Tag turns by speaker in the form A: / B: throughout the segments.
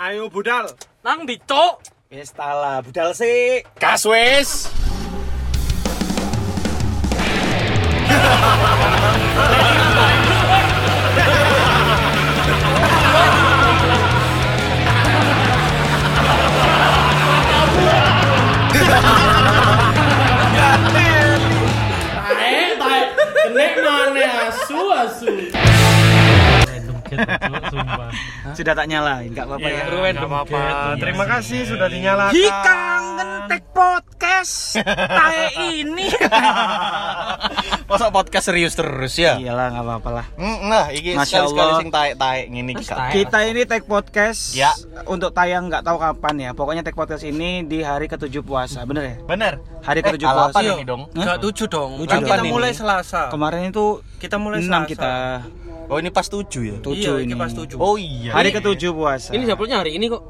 A: Ayo budal.
B: Nang ndi, Cuk?
C: Wis tala, budal sik.
D: Gas wis.
E: Eh, tai. Kenek mana asu asu.
C: Sudah tak nyalain, enggak apa-apa ya.
A: Iya, Nggak apa-apa. Terima kasih sudah dinyalakan.
B: Hi kangen tek podcast tae ini.
D: Masa podcast serius terus ya?
C: Iyalah, enggak apa-apa lah.
D: Mm, Nah, iki
C: Masya
D: sekali-sekali
C: Allah.
D: sing taek-taek ngene iki. Kak.
C: Kita ini tag podcast
D: Ya.
C: untuk tayang nggak tahu kapan ya. Pokoknya tag podcast ini di hari ketujuh puasa, bener ya?
D: Bener.
C: Hari
D: Eh,
C: ketujuh puasa.
D: alapan ini dong.
A: Enggak tujuh dong.
C: Tujuh
A: Kan
C: dong.
A: kita
C: Kapan
A: mulai
C: ini?
A: Selasa.
C: Kemarin itu
A: Kita mulai
C: enam
A: Selasa.
C: kita
D: Oh, ini pas 7 ya?
C: tujuh
A: iya,
C: ini.
A: ini pas tujuh.
D: Oh iya.
C: Hari ketujuh puasa.
B: Ini sampulnya hari ini kok.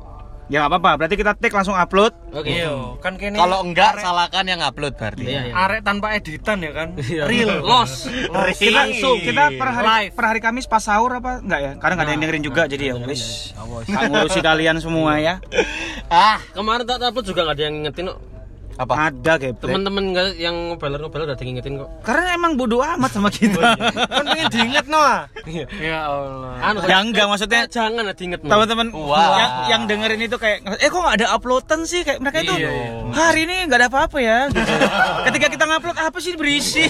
C: Ya nggak apa-apa. Berarti kita tag langsung upload.
B: Oke.
A: Iya, kan kene
D: Kalau enggak salahkan yang upload berarti. ya?
B: Iya, iya.
A: arek tanpa editan ya kan.
B: Real los.
D: Hari ini.
C: Kita,
D: Iya.
C: kita per hari
B: Live.
C: per hari Kamis pas sahur apa enggak ya? Karena nggak ada yang dengerin juga jadi ya wis. Tak ngurusi kalian semua ya.
D: Ah,
B: Kemarin tak upload juga gak ada yang ngingetin kok.
D: apa?
C: Ada geblek.
B: Teman-teman nggak- yang ngebaler-ngebaler udah ada yang ngingetin kok.
C: Karena emang bodoh amat sama kita.
A: kan pengen diinget Noah.
B: Ya Allah.
A: Kan
B: Anu,
C: Ya enggak maksudnya
B: jangan ada diinget. Mas.
C: teman-teman
D: Wah.
C: yang, yang dengerin itu kayak eh kok nggak ada uploadan sih kayak mereka
A: Iya,
C: itu hari ini nggak ada apa-apa ya gitu. ketika kita ngupload apa sih berisi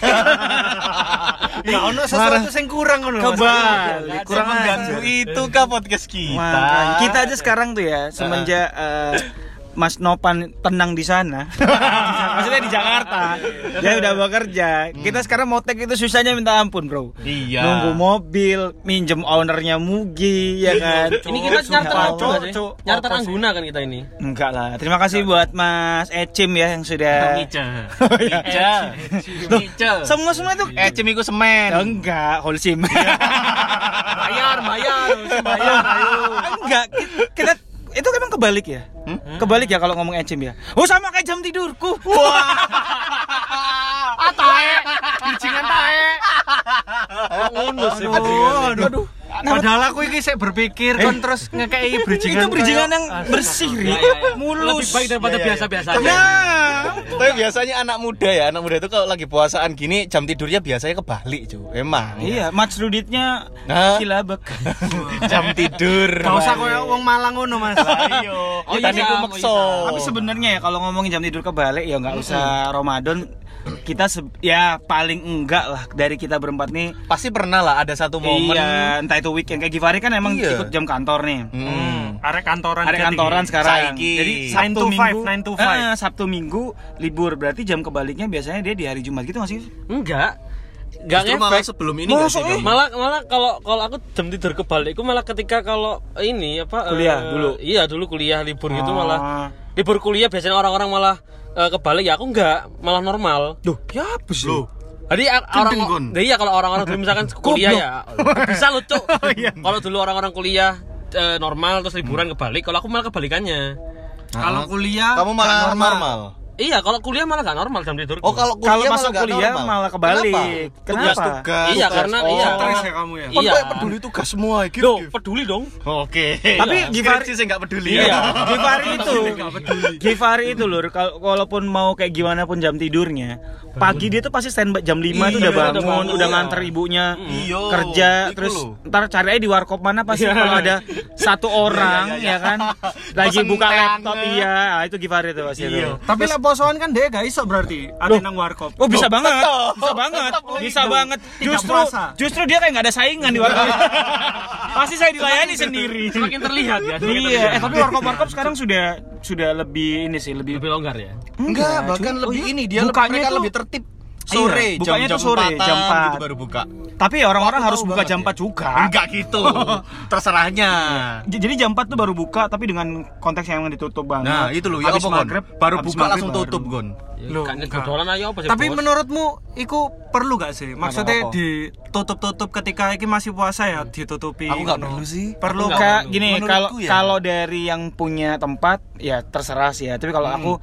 A: Ya ono sesuatu sing kurang ngono. Mas. Iya,
C: kebalik
D: Kurang mengganggu itu kah podcast
C: Makanya.
D: kita?
C: kita aja sekarang tuh ya semenjak eh, Mas Nopan tenang di sana. Maksudnya di Jakarta. Dia udah bekerja. Kita sekarang mau tag itu susahnya minta ampun, Bro.
A: Ya.
D: Iya.
C: Nunggu mobil, minjem ownernya Mugi, ya kan.
B: ini kita nyarter
C: Sumpah,
B: apa
C: Cuk,
B: sih?
C: Cuk.
B: Nyarter Angguna kan kita ini.
C: Enggak lah. Terima kasih buat Mas Ecim ya yang sudah Oh,
B: Ya.
D: Ica.
C: Semua semua itu
D: Eh,
A: Iya.
D: cemiku semen.
C: Ya, enggak, Holcim.
B: Bayar, bayar, bayar.
C: enggak, ki- kita itu emang kebalik ya?
A: Hmm?
C: Kebalik ya kalau ngomong Ecim ya. Oh sama kayak jam tidurku.
A: Ngono sih. Aduh, aduh. Padahal aku iki sik berpikir kon terus ngekei bridgingan.
C: Eh. itu bridgingan
A: kayak- Ah, iya,
C: yang bersih, Ri.
B: Iya, Lebih
C: mulus.
B: baik daripada
D: Iya, iya,
B: biasa-biasa aja.
C: Nah,
D: Tapi biasanya anak muda ya, anak muda itu kalau lagi puasaan gini jam tidurnya biasanya kebalik, cu. Emang.
C: iya, match ruditnya
D: Hah?
C: kilabek.
D: jam tidur.
A: Gak usah koyo wong Malang ngono, Mas. Ayo.
B: Oh,
D: Kita
B: iya,
D: niku
B: iya,
D: mekso.
C: Tapi sebenarnya ya kalau ngomongin jam tidur kebalik ya nggak usah Ramadan kita se- ya paling enggak lah dari kita berempat nih
D: pasti pernah lah ada satu momen.
C: Iya, entah itu weekend kayak Givari kan emang
D: Iya.
C: ikut jam kantor nih.
D: Hmm.
A: Arek kantoran.
C: Ada
A: jadi.
C: kantoran sekarang.
D: Saiki.
C: Jadi
A: Nine
C: Sabtu
A: to five,
C: Minggu,
A: nine to five.
C: Eh, Sabtu Minggu libur berarti jam kebaliknya biasanya dia di hari Jumat gitu nggak sih?
B: Enggak. Enggak
D: Justru malah
B: ngefek.
D: sebelum ini
C: Masa
D: nggak sih,
C: ini?
D: Dong?
B: Malah malah kalau kalau aku jam tidur kebalik, aku malah ketika kalau ini apa eh,
C: Kuliah dulu?
B: Iya, dulu kuliah libur gitu
C: Ah.
B: malah. Libur kuliah biasanya orang-orang malah eh, kebalik ya, aku enggak, malah normal.
C: Duh, ya apa sih?
B: Jadi a- orang Nah, iya kalau orang-orang dulu misalkan kuliah ya bisa lu Cuk.
C: Oh, iya.
B: Kalau dulu orang-orang kuliah eh, normal terus
C: Hmm.
B: liburan kebalik, kalau aku malah kebalikannya.
A: Kalau kuliah
D: Kamu malah ya. normal.
B: Iya, kalau kuliah malah gak normal jam tidur.
D: Oh, kalau kuliah
C: Kalau masuk
D: nggak
C: kuliah malah kebalik.
D: Kenapa?
C: Kenapa?
D: Tugas-tugas.
B: Iya, karena
D: Oh.
B: iya.
A: stres
B: orang-
A: ya kamu ya.
D: Kan
B: Iya.
D: kayak peduli tugas semua gitu.
B: Duh,
C: ya?
B: peduli dong.
D: Oke.
C: Tapi
D: Iya.
C: Givari-
D: Skripsi sih nggak peduli
C: Iya,
D: ya.
C: Givari itu.
D: Iya.
C: Givari itu lur, kalau walaupun mau kayak gimana pun jam tidurnya, pagi dia tuh pasti standby jam 5 itu
D: Iya,
C: udah
D: udah
C: bangun, udah,
D: bangun. Iya.
C: nganter ibunya
D: Iya.
C: kerja,
D: Iku
C: terus
D: lho.
C: ntar cari aja di warkop mana pasti kalau ada satu
D: Iya, iya,
C: orang
D: iya.
C: ya kan, lagi
D: Pesen
C: buka
D: tenge.
C: laptop iya, Ah, itu Givari itu pasti
D: Iya.
C: itu.
A: Tapi lek posoan kan dia gak iso berarti. Ada nang warkop.
C: Oh bisa banget,
D: tetep.
C: bisa banget,
D: Tetep lagi
C: bisa
D: dong.
C: banget.
A: Tidak
C: Justru,
A: puasa.
C: justru dia kayak nggak ada saingan di warkop. Pasti saya dilayani sendiri.
B: Semakin terlihat ya. semakin
C: Iya, eh,
B: terlihat.
C: tapi warkop warkop sekarang sudah sudah lebih ini sih lebih
B: lebih longgar ya.
D: Enggak, bahkan
C: cuy.
D: lebih
C: Oh, iya.
D: ini dia
C: Bukanya
D: mereka
C: tuh-
D: lebih tertib. Sore,
C: Iya, bukanya
D: jam-jam
C: tuh sore,
D: empatan
C: jam empat.
D: gitu baru buka.
C: Tapi ya orang-orang
D: Aku
C: harus
D: tahu
C: buka
D: banget
C: jam
D: ya.
C: 4 juga.
D: Enggak gitu. Terserahnya.
C: J- Jadi jam 4 tuh baru buka tapi dengan konteks yang ditutup banget.
D: Nah, itu loh ya
C: Habis
D: apa Gon?
C: maghrib,
D: Baru
C: habis
D: buka
C: maghrib
D: langsung
C: baru.
D: tutup, Gon.
A: Loh,
B: Kan
A: enggak.
B: dodolan ayo apa sih?
A: Tapi
B: Bos?
A: menurutmu iku perlu gak sih? Maksudnya
C: apa-apa.
A: ditutup-tutup ketika iki masih puasa ya ditutupi.
D: Aku gak
A: ngono.
D: perlu sih.
A: Perlu
B: Aku gak
A: gak?
C: Kayak gini
D: Menurutku
C: kalau
D: ya. Hmm.
C: kalau dari yang punya tempat ya terserah sih ya. Tapi kalau aku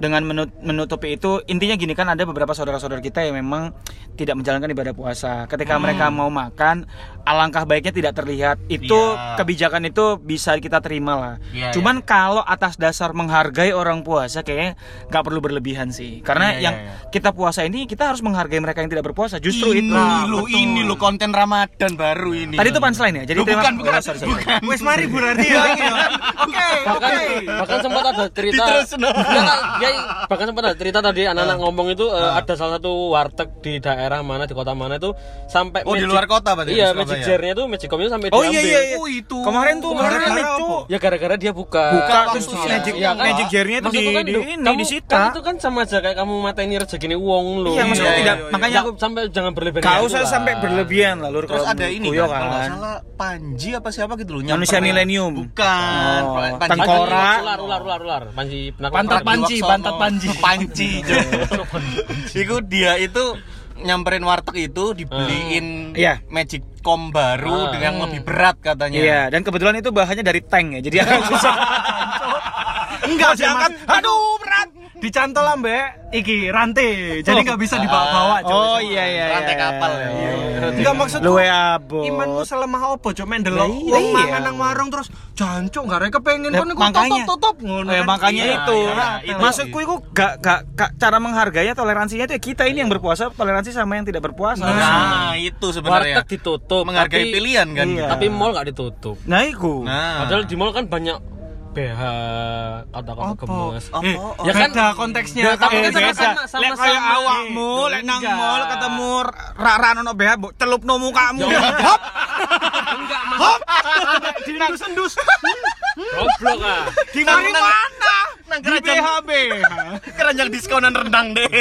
C: dengan menu- menutupi itu intinya gini kan ada beberapa saudara-saudara kita yang memang tidak menjalankan ibadah puasa. Ketika
D: Hmm.
C: mereka mau makan, alangkah baiknya tidak terlihat. Itu
D: Iya.
C: kebijakan itu bisa kita terima lah.
D: Iya,
C: Cuman kalau atas dasar menghargai orang puasa kayaknya nggak perlu berlebihan sih. Karena
D: Iya,
C: yang
D: iya,
C: kita puasa ini kita harus menghargai mereka yang tidak berpuasa. Justru
D: ini
C: itu.
D: lo ini lo konten Ramadan baru ini.
C: Tadi itu punchline ya. Jadi
D: Loh,
C: terima-
D: bukan bukan
C: Oh, sorry, sorry.
D: bukan.
A: Wes mari Bu Ranti ya. Oke,
B: bahkan bahkan sempat ada cerita
D: Diterusin.
B: Nggak, nggak, Yai, bahkan sempat ada cerita tadi
C: Ah.
B: anak-anak ngomong itu eh, ada salah satu warteg di daerah mana di kota mana itu sampai
D: Oh, di luar kota
C: ya,
D: berarti,
B: iya
D: di Surabaya.
B: magic jar-nya tuh magic comnya sampai
C: Oh iya
B: diambil.
C: iya. iya.
D: Oh, itu.
C: Kemarin tuh
D: Kemarin
C: rame,
D: gara-gara
C: cu.
D: apa?
B: ya gara-gara dia buka
C: Buka terus
D: maksudnya.
C: magic
D: Iya, kan?
C: magic jar-nya itu di,
B: Maksudku kan,
C: di
B: duh,
C: ini
B: kamu-
C: disita.
B: kan itu kan sama aja kayak kamu mateni rezeki wong lo
C: Iya, maksudnya
D: Iya,
C: tidak
D: iya, iya.
C: makanya aku
B: sampai jangan berlebihan gitu
C: Gak usah sampai berlebihan lah lur
D: Terus
C: kalau
D: ada ini
C: menurutku, ya yo
D: kan, kalau nggak salah Panji apa siapa gitu loh
C: Manusia
D: nyamperin.
C: milenium.
D: Bukan.
C: Oh,
D: Panji-
C: tangkal. Kora.
B: ular ular ular ular panji penakut.
E: Pantat
D: Panji
E: panci,
D: Waksono.
E: pantat panci.
D: Panci. Iku dia itu nyamperin warteg itu dibeliin
C: Iya.
D: magic com baru
B: Ah.
D: dengan yang lebih berat katanya.
C: Iya, dan kebetulan itu bahannya dari tank ya. Jadi agak susah.
A: Enggak diangkat. Aduh,
D: berat.
A: dicantol ambe iki rantai. Jadi enggak bisa dibawa-bawa, Cuk.
C: Oh iya iya. iya,
D: Rantai
C: iya.
D: kapal ya.
A: Enggak maksud
C: Luwe abot.
A: imanmu selemah apa cuk main delok
C: Lah iya.
A: wong mangan nang warung terus jancuk gak rek kepengin
C: Nah,
A: kon iku
C: makanya.
A: tutup ngono.
C: Oh, ya,
A: kan.
C: makanya
D: Iya,
C: itu.
D: iya, iya, itu.
C: Maksudku itu gak, gak, gak- cara menghargainya toleransinya itu ya kita ini yang berpuasa toleransi sama yang tidak berpuasa.
D: Nah, itu sebenarnya.
B: warteg ditutup
D: Menghargai
B: tapi-
D: pilihan kan.
C: Iya.
B: tapi mall nggak ditutup
C: Nah, itu.
D: Nah.
B: Padahal di mall kan banyak BH kata-kata gemes.
A: Eh,
D: Apa?
A: ya
B: Ya
A: kan
B: kan- Ya,
A: konteksnya.
B: tapi
A: Eh,
B: kan sama-
A: beda.
B: sama- sama-
C: Lek kaya
B: sama-
C: awakmu,
A: Eh,
C: lek nang
A: enggak.
C: mall ketemu raran ono BH, mbok celupno mukamu. Hop.
B: Enggak mah.
A: Disendus-endus.
B: Goblok ah.
C: Di mana? Nang BH BH.
D: keranjang diskonan rendang deh.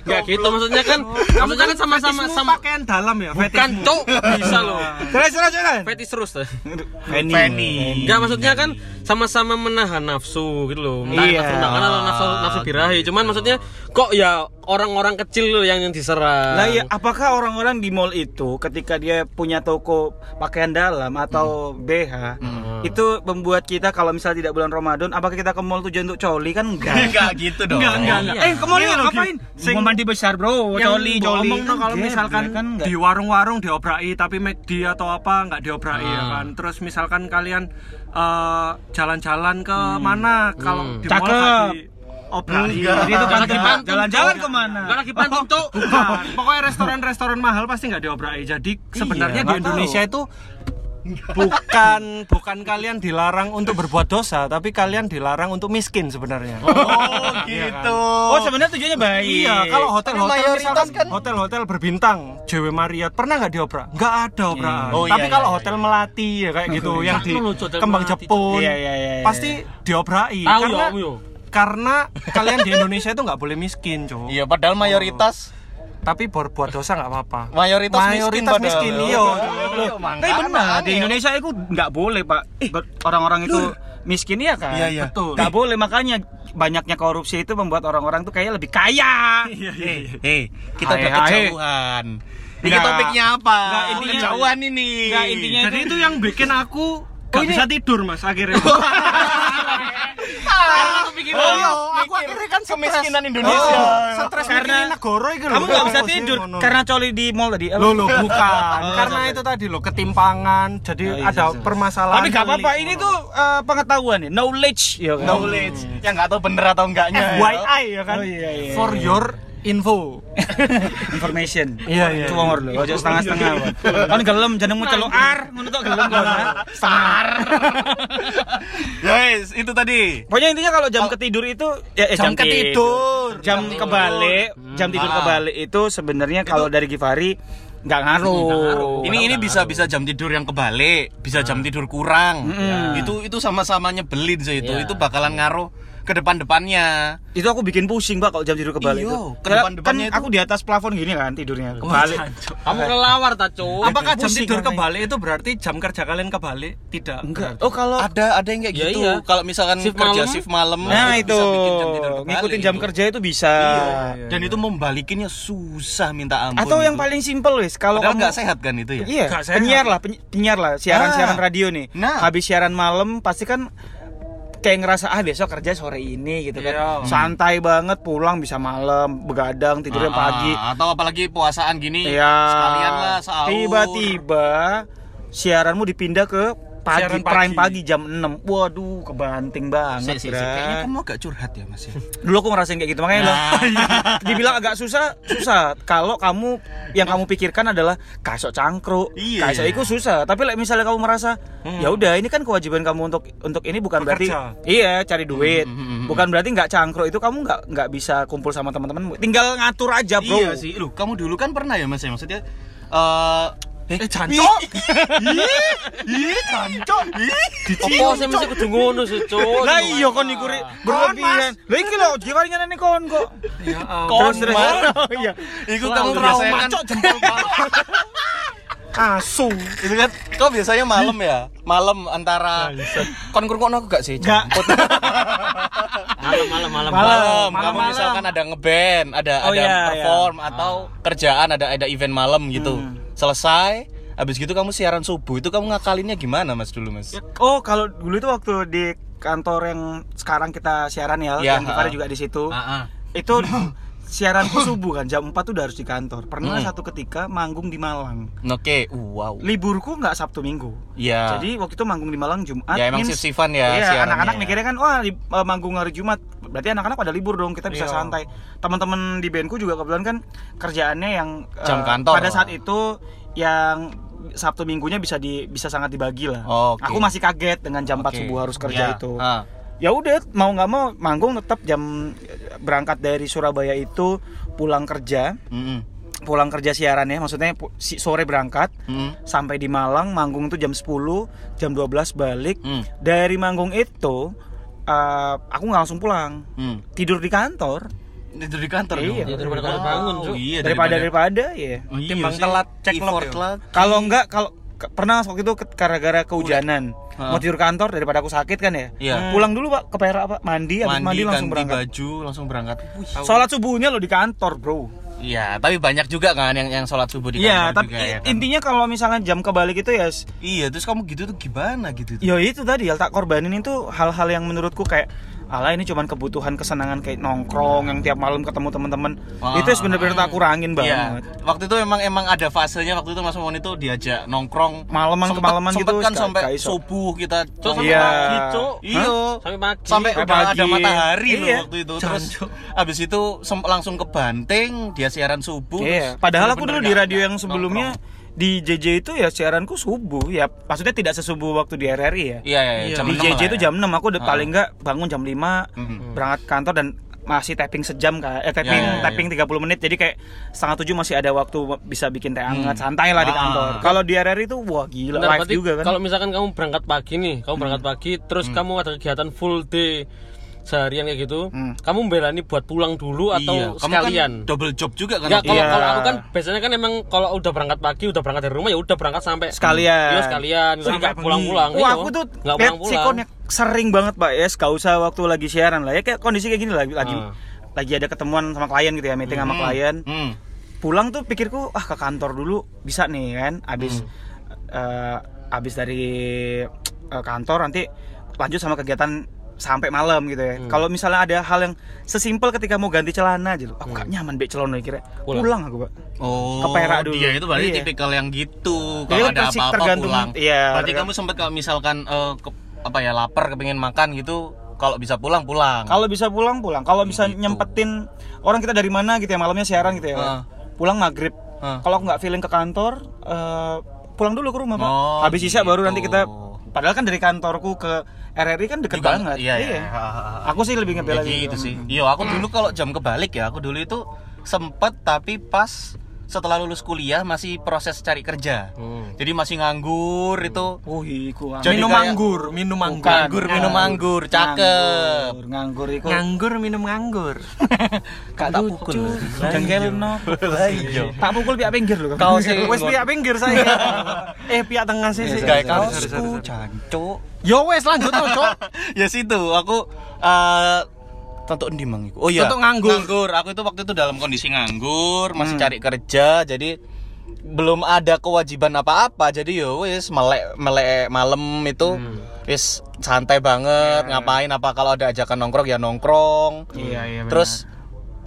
B: Enggak gitu maksudnya kan maksudnya kan sama-sama
A: Fetismu
B: sama
A: pakaian dalam ya,
B: bukan
A: fetismu.
B: cok bisa lo.
C: Terus terus terus.
B: Fetis terus. tuh.
C: Penny.
B: Enggak maksudnya kan sama-sama menahan nafsu gitu loh. Entah
C: Iya.
B: nafsu makan atau nafsu nafsu birahi. Cuman maksudnya kok ya orang-orang kecil loh yang yang diserang.
C: Lah ya, apakah orang-orang di mall itu ketika dia punya toko pakaian dalam atau BH itu membuat kita kalau misalnya tidak bulan Ramadan apakah kita ke mall tujuan untuk coli kan enggak?
D: Enggak gitu dong.
A: Enggak, enggak, enggak.
C: Eh, ke mall
A: Iya,
C: ngapain?
A: Ki.
C: Sing mandi besar, Bro.
A: Yang
C: Coli,
A: gua
C: coli.
A: omong no, kalau
C: Enggak,
A: misalkan
C: kan enggak.
A: di warung-warung diobrai tapi McD atau apa nggak diobrai ya kan terus misalkan kalian eh, jalan-jalan ke mana kalau di mall
C: Cakep.
A: nggak diobrai
C: Jadi itu
B: Jalan
C: pantai.
B: di pantai.
C: Iya. Jalan-jalan kemana?
B: Enggak lagi pantung cok.
A: Bukan. pokoknya restoran-restoran mahal pasti nggak diobrai jadi sebenarnya di
C: nggak
A: Indonesia itu bukan bukan kalian dilarang untuk berbuat dosa tapi kalian dilarang untuk miskin sebenarnya
D: Oh, gitu.
C: Oh, sebenarnya tujuannya baik.
A: Iya, kalau hotel-hotel
D: mayoritas
A: misalkan
D: kan-
A: hotel-hotel berbintang, JW Marriott pernah nggak dioprak? Nggak ada opraan.
D: Oh, iya,
A: Tapi
D: iya,
A: kalau
D: iya,
A: hotel melati ya kayak gitu, yang di
B: Sakno lucu hotel
A: Kembang
B: Melati.
A: Jepun,
C: Iya, iya, iya, iya.
A: pasti dioprai.
B: Tahu ya,
A: karena
B: Om, yo.
A: karena kalian di Indonesia itu nggak boleh miskin, cowok.
D: Iya, padahal mayoritas
A: Tapi berbuat dosa nggak apa-apa.
D: Mayoritas miskin
A: Mayoritas
D: padahal.
A: miskin, iya.
D: Oh,
A: Loh,
C: Tapi benar, di Indonesia itu nggak boleh pak Ber- orang-orang itu miskin ya kan?
D: Iya, iya.
C: Betul. Nggak boleh makanya banyaknya korupsi itu membuat orang-orang tuh kayak lebih kaya.
A: Iya,
D: Eh, kita
C: Hai,
D: udah
C: hai.
D: kejauhan. Ini
C: Enggak.
D: topiknya apa?
C: Enggak, intinya-
D: kejauhan ini.
C: Nggak, intinya Oh,
A: Jadi itu yang bikin aku nggak bisa tidur mas akhirnya.
D: Oh, iya, aku akhirnya kan kemiskinan Indonesia.
A: Stres
C: Karena-
A: mikirin negara itu
C: Iya, kamu nggak
A: Oh,
C: bisa tidur karena Oh, iya, coli di mall tadi.
A: lo lo bukan karena itu tadi lo ketimpangan
C: Oh,
A: jadi
C: iya,
A: ada permasalahan
C: Tapi nggak apa-apa
A: pelik.
C: ini tuh eh, pengetahuan ya, knowledge ya kan.
D: Knowledge yang nggak tahu bener atau enggaknya. ya.
A: FYI ya kan
C: Oh, iya, iya,
A: for your info
C: Information.
A: Iya, iya.
C: Cuangor lho, ojo setengah-setengah. Pak. Nah. Kan gelem jenengmu celok ar, ngono tok gelem kon. ha? Setengah.
D: Guys, itu tadi.
C: Pokoknya intinya kalau jam ketidur itu ya, eh,
D: Jam ketidur.
C: jam
D: Jam
C: kebalik, jam tidur
D: Ah.
C: kebalik itu sebenarnya kalau dari Givari nggak ngaruh.
D: Ini ini bisa bisa jam tidur yang kebalik, bisa
C: Hmm.
D: jam tidur kurang. Ya. Itu itu sama-sama nyebelin sih itu.
B: Iya.
D: Itu bakalan ngaruh ke depan-depannya.
C: Itu aku bikin pusing pak kalau jam tidur kebalik
D: Iyo,
C: itu.
D: ke
C: Karena kan
D: depan-depannya itu.
C: aku di atas plafon gini kan tidurnya kebalik.
B: Kamu kelawar ta cok.
A: apakah jam
C: Pusing
A: tidur
C: katanya.
A: kebalik itu berarti jam kerja kalian kebalik tidak
C: Enggak. Oh kalau
D: Ada ada yang kayak
B: Iya,
D: gitu.
B: iya.
D: Kalau misalkan
B: Shift
D: kerja
B: malam.
D: shift malam,
C: nah itu
D: bisa bikin jam tidur kebalik
C: ngikutin jam
D: itu.
C: kerja Iya, itu bisa.
D: Iya, Dan itu membalikinnya susah minta ampun.
C: Atau yang
D: itu.
C: paling simpel wis kalau
D: Padahal
C: kamu
D: nggak sehat kan itu ya?
C: Iya,
A: Nggak sehat.
C: penyiar lah, peny- penyiar lah, siaran-siaran
D: Ah.
C: radio nih.
D: Nah.
C: Habis siaran malam pasti kan kayak ngerasa ah besok kerja sore ini gitu kan.
A: Iya.
C: Santai banget pulang bisa malam, begadang tidurnya
D: Ah,
C: pagi.
D: atau apalagi puasaan gini
C: Iya.
D: sekalian lah sahur
C: Tiba-tiba siaranmu dipindah ke pagi,
A: Siaran pagi.
C: prime pagi jam 6. Waduh, kebanting
D: Si,
C: banget,
D: si, si.
C: Bra.
D: kayaknya kamu agak curhat ya mas ya
C: Dulu aku ngerasain kayak gitu makanya loh.
D: Nah.
C: Dibilang agak susah, susah. Kalau kamu yang kamu pikirkan adalah kasok cangkruk,
D: Iya. Hmm.
C: kasok itu susah. Tapi like, misalnya kamu merasa ya udah ini kan kewajiban kamu untuk untuk ini bukan
A: Bekerja.
C: berarti iya cari duit.
D: Hmm, hmm, hmm, hmm.
C: Bukan berarti nggak cangkruk itu kamu nggak nggak bisa kumpul sama teman-temanmu. Tinggal ngatur aja, Bro.
D: iya sih lu kamu dulu kan pernah ya mas ya maksudnya eh Iya.
A: Eh, jancok.
D: Ih, ih, jancok. Ih.
B: Apa sih mesti kudu ngono sih, Cuk?
C: Lah iya kon iku Ri. berlebihan. Lah iki lho jiwaringan kon kok.
A: Ya ampun.
C: Terus terus. Iya.
D: Itu kamu biasanya kan,
C: Asu.
D: itu kan, kau biasanya malam ya, malam antara
C: Ya,
D: kon kurung aku gak sih?
C: Gak.
D: Jemput.
B: Malam, malam,
D: malam,
B: malam.
A: Malam,
D: kamu
A: malam.
D: misalkan ada ngeband, ada
C: Oh,
D: ada
C: iya, Ah.
D: perform atau kerjaan, ada ada event malam gitu.
C: Hmm.
D: Selesai, habis gitu kamu siaran subuh itu kamu ngakalinnya gimana mas dulu mas?
C: Oh, kalau dulu itu waktu di kantor yang sekarang kita siaran ya,
D: Ya,
C: yang Givari
D: ha.
C: juga di situ.
D: Ah, ah.
C: Itu siaran subuh kan jam 4 tuh udah harus di kantor. Pernah satu ketika manggung di Malang.
D: Oke, wow.
C: Liburku nggak Sabtu Minggu.
D: Iya.
C: Jadi waktu itu manggung di Malang Jumat.
D: Ya, emang
C: means-
D: shift-shiftan ya siarannya.
C: Iya, anak-anak mikirnya kan wah li- eh, manggung hari Jumat. Berarti anak-anak pada libur dong, kita bisa
A: Iya.
C: santai. Teman-teman di bandku juga kebetulan kan kerjaannya yang eh,
D: Jam kantor.
C: Pada saat itu yang Sabtu Minggunya bisa di bisa sangat dibagi lah.
D: Oh, oke.
C: Aku masih kaget dengan jam 4
D: Oke.
C: subuh harus kerja
A: Ya.
C: itu.
D: Ah.
C: Ya udah mau nggak mau manggung tetap jam berangkat dari Surabaya itu pulang kerja,
D: Mm-mm.
C: pulang kerja siarannya maksudnya pu- si- sore berangkat
D: Mm-mm.
C: sampai di Malang manggung tuh jam 10 jam 12 balik
D: Hmm.
C: dari manggung itu eh, aku nggak langsung pulang
D: Hmm.
C: tidur di kantor
D: Itu di kantor dong.
C: Iya.
B: Ya, daripada kalau bangun, Cuk.
D: iya,
C: daripada daripada ya
D: Oh, iya
A: Timbang
D: sih.
A: telat, cek log
D: Effort
A: ya.
D: telat.
C: kalau nggak kalau ke- pernah waktu itu ke- gara-gara kehujanan
D: Hah.
C: mau tidur kantor daripada aku sakit kan ya
D: Iya.
C: Hmm. pulang dulu pak ke Perak pak mandi habis
D: Mandi,
C: mandi, langsung
D: ganti
C: berangkat
D: baju, langsung berangkat. Wih.
C: sholat subuhnya lo di kantor bro
D: Iya, tapi banyak juga kan yang yang sholat subuh di
C: iya
D: kantor juga,
C: tapi
D: ya kan?
C: intinya kalau misalnya jam kebalik itu ya s-
D: Iya, terus kamu gitu tuh gimana gitu? tuh?
C: Ya itu tadi yang tak korbanin itu hal-hal yang menurutku kayak ala ini cuman kebutuhan kesenangan kayak nongkrong yang tiap malam ketemu teman-teman.
D: Wah.
C: Itu sebenarnya tak
D: Iya.
C: kurangin banget.
D: Waktu itu emang emang ada fasenya waktu itu Mas Momon itu diajak nongkrong
C: Malaman
D: Sempet-
C: kemalaman
D: sempet
C: gitu,
D: kan
C: gak-
D: sampai
C: gak iso.
D: subuh kita
B: Cuk, sampai
C: Iya.
B: pagi, Cuk.
D: Iya.
B: Sampai pagi.
D: Sampai
C: Sampai
D: udah ada
C: pagi.
D: matahari
C: Iya.
D: loh waktu itu. Terus habis itu sem- langsung ke Banting, dia siaran subuh.
C: Iya.
D: terus
C: Padahal aku dulu
D: bener-bener
C: di
D: gak-
C: radio
D: gak
C: yang sebelumnya
D: nongkrong.
C: di JJ itu ya siaranku subuh ya maksudnya tidak sesubuh waktu di RRI
D: Iya, iya,
C: ya.
A: Iya.
D: jam
C: di
D: 6 lah
C: JJ itu
D: ya.
C: jam 6 aku udah
D: Ah.
C: paling nggak bangun jam 5
D: Mhm.
C: berangkat kantor dan masih tapping sejam kan eh tapping
D: Ya, ya, ya.
C: tapping 30 menit jadi kayak setengah tujuh masih ada waktu bisa bikin teh hangat santai lah di
D: Ah.
C: kantor kalau di RRI itu wah gila
B: Bentar,
C: live
B: berarti
C: juga kan
B: Kalau misalkan kamu berangkat pagi nih, kamu berangkat pagi, terus kamu ada kegiatan full day seharian kayak gitu, kamu membelani buat pulang dulu atau
D: Iya, kamu kan
B: sekalian?
D: double job juga kan?
B: Enggak, kalau
C: Iya.
B: kalau aku kan biasanya kan emang kalau udah berangkat pagi, udah berangkat dari rumah ya udah berangkat sampai
C: Sekalian.
B: Iya, sekalian. Jadi
A: Sampai
B: nggak pulang-pulang.
C: Wah
B: Iya,
C: aku tuh
B: nggak
C: lihat si
B: pulang-pulang.
C: Konek sering banget Pak Yes, gak usah waktu lagi siaran lah ya kayak kondisi kayak gini lagi lagi
B: Ah.
C: lagi ada ketemuan sama klien gitu ya meeting sama klien
D: Hmm.
C: pulang tuh pikirku ah ke kantor dulu bisa nih kan abis
B: Hmm.
C: eh, abis dari eh, kantor nanti lanjut sama kegiatan sampai malam gitu
B: Hmm.
C: ya kalau misalnya ada hal yang sesimpel ketika mau ganti celana aja loh aku gak nyaman be celana kira pulang.
B: Hmm. Pulang.
C: aku pak
D: Oh,
C: Ke Perak dulu.
D: Dia itu berarti
C: Iya.
D: tipikal yang gitu.
C: Jadi
D: Kalau
C: kan
D: ada
C: persi-
D: apa-apa
C: tergantung-
D: pulang.
C: iya,
D: berarti
C: tergantung.
D: kamu sempat kalau misalkan eh, ke- apa ya lapar kepingin makan gitu, kalau bisa pulang pulang.
C: kalau bisa pulang pulang kalau bisa
D: Gitu.
C: nyempetin orang kita dari mana gitu ya malamnya siaran gitu ya Pak.
D: Ah.
C: pulang maghrib
D: Ah.
C: kalau aku nggak feeling ke kantor eh, pulang dulu ke rumah pak
D: Oh,
C: habis isya baru nanti kita
D: gitu.
C: padahal kan dari kantorku ke RRI kan deket
D: Juga-
C: banget
D: Iya, iya.
C: Aku sih lebih ngebela
D: Jadi
C: gitu.
D: itu sih. Iya, aku dulu kalau jam kebalik ya, aku dulu itu sempet tapi pas setelah lulus kuliah masih proses cari kerja.
C: Hmm.
D: Jadi masih nganggur itu.
C: Oh, iku.
D: Jadi
A: minum
D: kayak-
A: anggur, minum anggur.
C: Bukan.
D: Nganggur minum anggur, cakep.
C: Nganggur, nganggur iku.
A: Nah. Nganggur minum nganggur.
C: Gak tak pukul. Jengkelno.
D: Iya.
C: Tak pukul pihak pinggir lho.
D: Kau sih.
C: wes pihak pinggir saya. eh pihak tengah sih sih.
D: Iya, Kayak
C: Sorry, sorry,
D: kaosku,
C: sorry.
D: jancuk.
C: Yo wes lanjut to, Cok.
D: ya situ aku eh tentu endi mang iku. Oh iya.
A: Tentu nganggur.
C: Hmm.
D: Nganggur. Aku itu waktu itu dalam kondisi nganggur, masih cari kerja, jadi belum ada kewajiban apa-apa jadi yo wis melek melek malam itu
C: Hmm.
D: wis santai banget ngapain apa kalau ada ajakan nongkrong ya nongkrong
C: Iya, iya, benar.
D: terus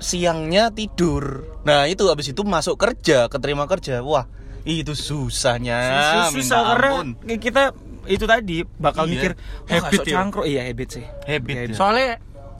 D: siangnya tidur nah itu habis itu masuk kerja keterima kerja wah itu susahnya
C: Sus-
D: minta
C: susah karena
D: ampun.
C: kita itu tadi bakal
D: Iya.
C: mikir wah
A: Habit
C: sok
A: ya.
C: cangkruk iya habit sih
D: Habit ya.
A: soalnya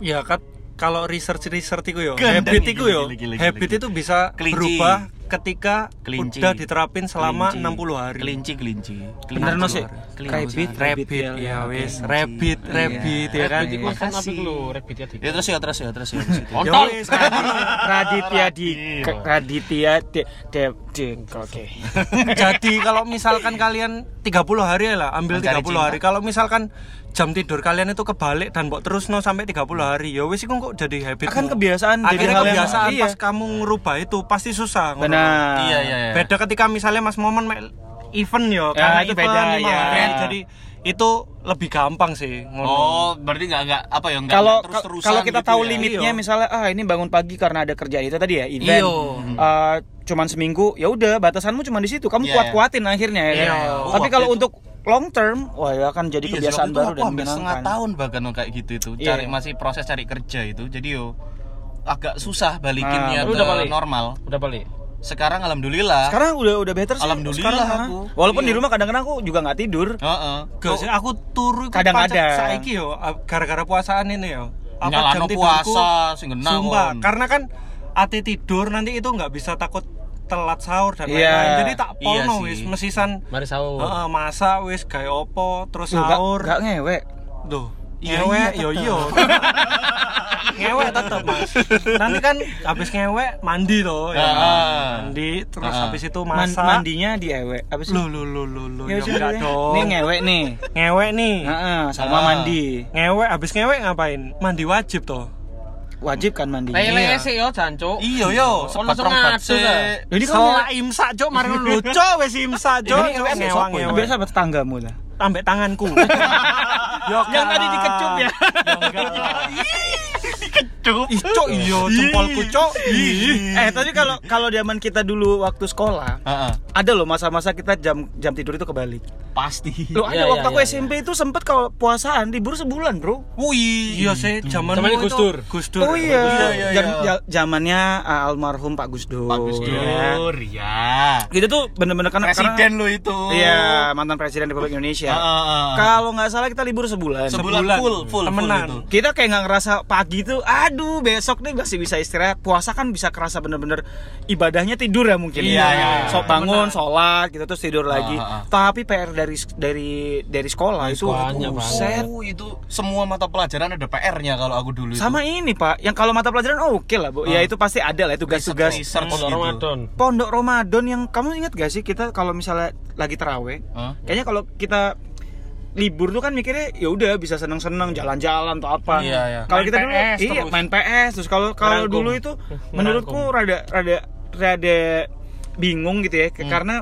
A: ya kat kalau research research itu yo
D: Gendeng,
A: habit itu yo
D: gila, gila, gila,
A: habit
D: gila.
A: itu bisa
D: Kelinci.
A: berubah ketika
D: kelinci
A: udah diterapin selama
D: Kelinci.
A: 60 hari
D: kelinci kelinci
C: Bener, no, sih? Rabbit,
A: rabbit ya wes rabbit
C: Iya.
A: rabbit ya kan
B: Rabbit iku kan apa iku lho, rabbit
C: gitu.
B: ya
D: ya terus ya terus ya terus ya habis itu.
C: Ya
B: Ontol.
C: wes, Radit- Raditya di
D: Iya.
C: Raditya de de de oke
A: jadi kalau misalkan kalian 30 hari ya lah ambil
D: Mencari
A: 30
D: cinta.
A: hari kalau misalkan jam tidur kalian itu kebalik dan mbok terus no sampai 30 hari ya wes iku kok jadi habit
C: Akan kebiasaan, jadi
A: akhirnya
C: hal yang-
A: kebiasaan
C: iya.
A: pas kamu ngerubah itu pasti susah ngono.
C: benar
D: iya iya iya
A: Beda ketika misalnya Mas Momen me- event yo,
C: Ya,
A: karena
C: itu
A: event
C: beda,
A: lima
C: ya.
A: hari, jadi itu lebih gampang sih. ngono.
D: oh berarti nggak nggak apa ya nggak
C: kalau
D: nggak terus-terusan
C: kalau kita
D: gitu
C: tahu
D: ya.
C: limitnya
A: Iya.
C: misalnya ah ini bangun pagi karena ada kerjaan itu tadi ya event
A: Iya.
C: Eh, cuman seminggu ya udah batasanmu cuma di situ kamu
D: Iya,
C: kuat kuatin akhirnya ya kan?
A: Iya.
D: Oh,
C: tapi
D: waktu
C: kalau
D: itu-
C: untuk long term wah ya akan jadi
D: Iya,
C: kebiasaan
D: sih, waktu itu
C: baru
D: aku
C: dan
D: hampir setengah
C: menyenangkan
D: tahun bahkan loh kayak gitu itu
C: Iya.
D: cari masih proses cari kerja itu jadi yo agak susah balikinnya
B: Nah, lu
D: ke
B: udah balik?
D: normal
B: Udah balik.
D: sekarang alhamdulillah
C: sekarang udah udah better sih
D: Alhamdulillah
C: sekarang, ha?
D: aku.
C: walaupun
D: Iya.
C: di rumah kadang-kadang aku juga nggak tidur
D: Heeh.
A: Gak sih, aku turu iku
C: Kadang
A: pancet
C: ada.
A: saiki yo gara-gara puasaan ini yo.
D: Nyalano puasa, sing genah,
A: Sumpah,
D: kon.
A: karena kan ati tidur nanti itu nggak bisa takut telat sahur dan
C: Iya.
A: lain-lain. Jadi tak
D: Iya
A: polno
D: sih.
A: wis mesisan
B: Mari sahur.
A: Heeh, masak wis gawe opo terus
C: Loh, nggak-
A: sahur.
C: nggak ngewe
A: Duh,
D: Iya,
A: ngewek
D: iya,
A: yo
D: tetep.
A: yo. ngewek tetep Mas. Nanti kan habis ngewek mandi loh ya. kan?
D: Heeh.
A: Mandi terus
D: Heeh.
A: habis itu
C: Man-
A: masak.
C: mandinya di ewe apa sih
A: Lu lu lu lu lu.
C: Ya
A: Ya
C: sih,
A: enggak
C: ya.
A: dong.
C: Ini ngewek nih.
A: Ngewek nih.
C: Heeh, sama
D: Ah.
C: mandi.
A: Ngewek habis ngewek ngapain? Mandi wajib toh.
C: Wajib kan mandi.
B: Lele sih yo jancuk.
D: iya yo sempat
B: langsung
D: rongkat
B: ngadu,
D: sih
B: dah.
C: Jadi kamu
A: Selak imsak cok mari lucu wis imsak cok.
D: Ini ngewek
A: Ngewang,
D: siapa ya?
A: kan ngewek.
C: biasa sama tetanggamu lah.
A: Ambek tanganku. Yo,
C: Yang tadi dikecup ya.
D: dikecup
A: Ih, cok iya jempolku cok. Ih.
C: Eh, tadi kalau kalau zaman kita dulu waktu sekolah,
D: Heeh.
C: ada loh masa-masa kita jam jam tidur itu kebalik.
D: pasti
C: Loh,
B: Iya,
C: ada waktu
B: iya,
C: aku
B: iya,
C: SMP itu sempet kalau puasaan libur sebulan, Bro.
D: wih
A: Iya sih, zaman
B: Zamannya Gus Dur.
A: Gus Dur.
C: Oh
D: iya, iya,
C: iya.
D: iya.
C: Jam- ja- Zamannya uh, almarhum Pak Gus Dur.
D: bagus
C: ya.
D: Dur ya
C: Itu tuh bener-bener karena
D: presiden lo itu
C: karena- Iya, mantan presiden Republik Indonesia.
D: Heeh, heeh.
C: Kalau nggak salah kita libur sebulan.
D: sebulan
A: Sebulan.
D: full full
A: Temenan.
D: full itu.
C: kita kayak nggak ngerasa pagi tuh aduh besok nih masih bisa istirahat puasa kan bisa kerasa bener-bener ibadahnya tidur ya mungkin
D: Iya, iya, iya.
C: so bangun sholat gitu terus tidur lagi
D: ah, ah.
C: tapi PR dari dari dari sekolah itu
B: sekolahnya, Pak.
C: buset.
D: Oh, itu semua mata pelajaran ada PR-nya kalau aku dulu itu.
C: sama ini pak yang kalau mata pelajaran oh, oke lah bu ya
D: Ah.
C: itu pasti ada lah tugas-tugas
D: research
B: Pondok
D: gitu.
B: Ramadan.
C: pondok Ramadan yang kamu ingat gak sih kita kalau misalnya lagi teraweh
D: Hah?
C: kayaknya kalau kita libur tuh kan mikirnya ya udah bisa seneng-seneng jalan-jalan atau apa.
D: Iya, iya.
B: Main
C: Kalau kita dulu
B: PS
C: iya
B: terus.
C: main PS terus kalau kalau
B: Ngerangkum.
C: dulu itu menurutku rada rada rada bingung gitu ya
D: Hmm.
C: ke- karena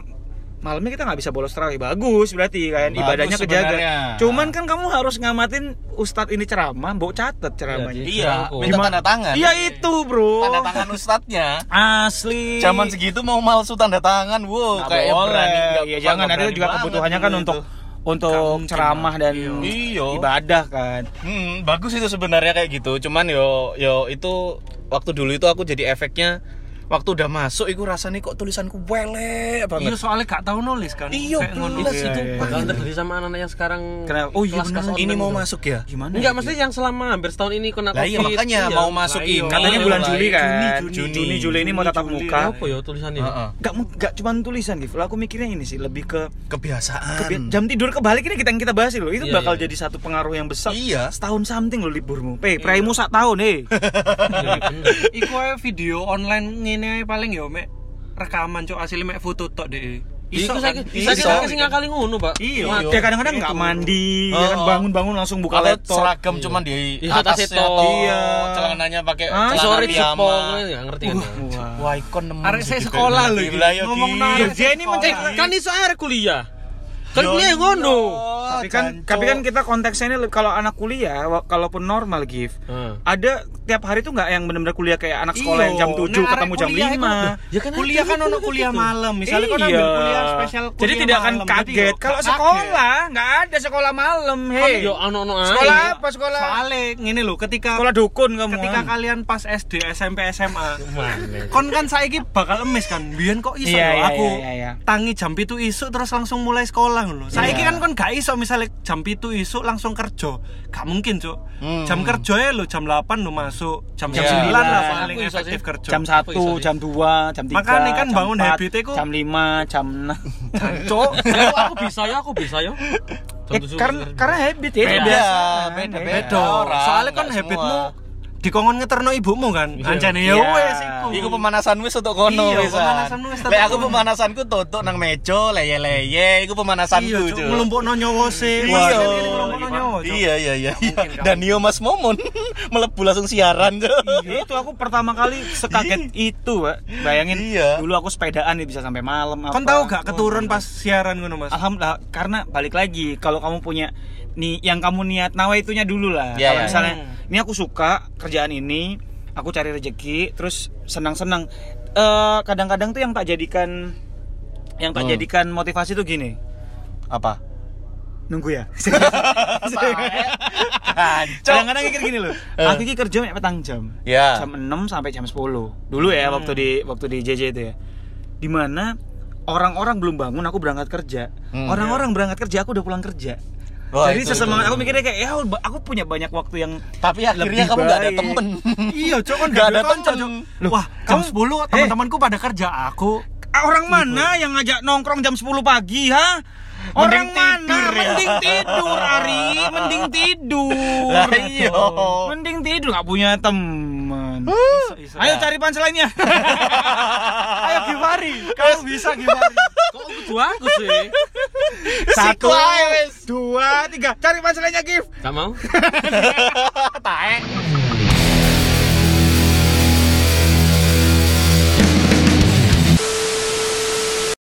C: malamnya kita nggak bisa bolos terawih bagus berarti kan
D: Bagus
C: ibadahnya kejaga.
D: sebenarnya.
C: Cuman kan kamu harus ngamatin ustadz ini ceramah, mbok catet ceramahnya.
D: Iya,
B: Aku.
D: minta tanda tangan.
C: Iya itu, Bro.
D: Tanda tangan ustadznya.
C: Asli.
D: Zaman segitu mau palsu tanda tangan, wow,
C: Nggak
D: kayak
C: boleh.
D: berani. nggak-
C: Iya,
D: nggak
C: jangan ada
D: berani
C: juga
D: banget gitu
C: kebutuhannya kan
D: dulu
C: untuk
D: itu.
A: Nggak
C: untuk
A: mungkin,
C: ceramah dan
D: Iya.
C: ibadah kan.
D: Hmm, bagus itu sebenarnya kayak gitu. Cuman yo yo itu waktu dulu itu aku jadi efeknya waktu udah masuk itu rasanya kok tulisanku welek
A: Iya
D: banget.
A: soalnya gak tahu nulis kan.
D: Iya,
A: Kayak ngono.
D: belas itu.
C: Iya, iya.
D: Pak.
B: Kalau terjadi sama anak-anak yang sekarang
C: Kenapa? Oh, iya,
B: kelas-kelas
C: bener.
B: online
D: Ini mau
B: itu.
D: masuk ya?
C: Gimana?
B: Enggak, maksudnya yang selama hampir setahun ini kena
D: Lah iya
B: Covid.
D: makanya
B: Iya.
D: mau masuk
A: Lah iya.
D: ini.
C: Katanya bulan Juli kan.
A: Juni,
C: Juni,
A: Juni.
C: Juli, ini mau
A: Juni,
C: tatap
A: Juli.
C: muka.
B: apa ya tulisannya?
D: Heeh.
C: Gak, gak cuma tulisan gitu. Aku mikirnya ini sih lebih ke
D: Kebiasaan.
C: kebi- jam tidur kebalik ini kita yang kita bahas sih loh. Itu
B: Iya,
C: bakal
B: iya.
C: jadi satu pengaruh yang besar.
D: Iya.
C: Setahun something loh liburmu. Pe, praimu sak tahun eh.
B: Iya, bener.
A: Iku ae video online ngene ae paling yo mek rekaman cok asli mek foto tok deh.
B: Iku
A: kan?
B: Iya, saya
A: Iso.
B: saya kira sih ngakali ngono, Pak.
A: Iya.
C: ya kadang-kadang nggak mandi, ya kan
D: Oh.
C: bangun-bangun langsung buka
D: kalau
C: laptop.
D: seragam cuman di
B: Di
D: atas
B: atasnya toh.
D: Iya.
B: Iya.
D: Celananya pakai
C: Ah,
D: celana
B: Sore
D: piyama.
B: disepo enggak ngerti
D: Uh,
B: kan.
C: Wah.
D: Wah, ikon nemu.
A: Arek saya sekolah lho iki.
D: Ngomong
A: Iya, Ngomong nang arek
C: Dia ini
A: sekolah.
B: Eh, kan iso air kuliah. Kan kuliah ngono.
D: iya.
A: Oh,
C: tapi kan tapi kan kita konteksnya ini le- kalau anak kuliah wa- kalaupun normal give
B: Hmm.
C: ada tiap hari tuh nggak yang benar-benar kuliah kayak Nah, anak sekolah yang jam 7 ketemu jam 5
B: Ya
A: ya
B: kan
A: kan kuliah
B: ada
A: kan ono
B: juga
A: kuliah
B: gitu.
A: malam misalnya kan ambil kuliah spesial kuliah
C: Iya. jadi tidak akan
A: malam. Jadi
C: kaget
A: yo,
C: kalau
A: kaget.
C: sekolah nggak ada sekolah malam
D: Eh.
C: hei
B: Kan Yo ono-ono ae.
C: sekolah apa sekolah
A: soalnya ini loh ketika
C: sekolah dukun kamu
A: ketika
C: ah.
A: kalian pas SD SMP SMA
B: Mana?
A: kon kan saiki bakal emes kan biyen kok iso
C: Iya,
A: lho
C: iya,
A: aku
C: iya, iya.
A: tangi jam pitu isuk terus langsung mulai sekolah
B: Iya.
A: lho saiki kan kon gak iso misalnya jam pitu isuk langsung kerja gak mungkin cuk
C: Hmm.
A: jam kerja ya lo jam 8 lo masuk jam,
B: Iya.
A: 9 lah
C: Iya.
A: paling
B: Aku iso
A: efektif
B: sih.
A: kerja
C: jam
B: Apa iso sih?
C: 1, jam 2, jam 3,
A: Makanya kan bangun
C: jam
A: habitnya ku-
C: jam 5, jam 6
A: cuk
B: Ya, aku- aku bisa ya, aku bisa ya.
C: Eh, karena, karena habit ya
B: Beda,
D: beda,
C: Eh,
D: beda.
A: Bedo.
D: orang,
A: soalnya kan
D: nggak
A: habitmu
D: semua.
A: dikongkon ngeterno ibumu kan anjane ya
C: Iya.
A: wes iku
D: Iku pemanasan wis untuk kono
A: Iya,
D: wisan.
A: pemanasan wis tetep
D: Lek aku
A: kono.
D: pemanasanku tutuk nang meja leye-leye iku
C: Iya,
D: pemanasanku
A: Cuk.
D: Cuk.
A: ngelumpukno nyawa
D: Iya.
A: sih Maksudnya ini ngelumpukno nyawa, Cuk.
D: Iya iya iya. Danio Mas Momon melebu langsung siaran. Cuk.
C: Iya, itu aku pertama kali sekaget itu, Wak. Bayangin
D: Iya.
C: dulu aku sepedaan ya bisa sampai malam apa.
A: kon tahu gak keturun pas siaran ngono mas
C: Alhamdulillah karena balik lagi kalau kamu punya nih yang kamu niat nawa itunya dulu lah.
D: Iya,
C: kalau
D: iya.
C: misalnya ini aku suka kerjaan ini, aku cari rezeki, terus senang-senang. Eh, kadang-kadang tuh yang tak jadikan yang tak jadikan motivasi tuh gini.
D: Hmm. Apa?
C: Nunggu ya.
D: Iya. Kancok.
C: Kadang-kadang mikir gini loh. Aku ini kerja mek petang jam.
D: Eh. Ya.
C: Jam 6 sampai jam 10. Dulu ya
D: Hmm.
C: waktu di waktu di JJ itu ya. Di mana orang-orang belum bangun aku berangkat kerja.
D: Hmm.
C: Orang-orang berangkat kerja aku udah pulang kerja.
D: Wah,
C: Jadi
D: itu, itu.
C: sesemangat aku mikirnya kayak ya aku punya banyak waktu yang
D: Tapi akhirnya
C: lebih
D: kamu nggak ada
C: baik.
D: temen.
A: Iya, cok kan
D: Nggak
A: gak
D: ada
A: ada konco,
D: temen. Eh.
A: cok. Wah, jam
C: kamu-
A: 10 teman-temanku pada kerja aku.
C: Ah, Orang mana yang ngajak nongkrong jam 10 pagi, ha?
D: Mending
C: Orang mana?
D: tidur ya.
C: Mending tidur, Ari. Mending tidur.
D: Lah, iya.
C: Mending tidur nggak punya teman.
D: Uh.
A: Iso.
C: Ayo cari pan selainnya.
A: Iya. Ayo Givari, kamu bisa Givari.
B: Kok kudu aku sih?
D: Siku
C: Satu,
D: ae, wes.
C: dua, tiga. Cari pan selainnya, Gif.
B: Gak mau.
D: Taek.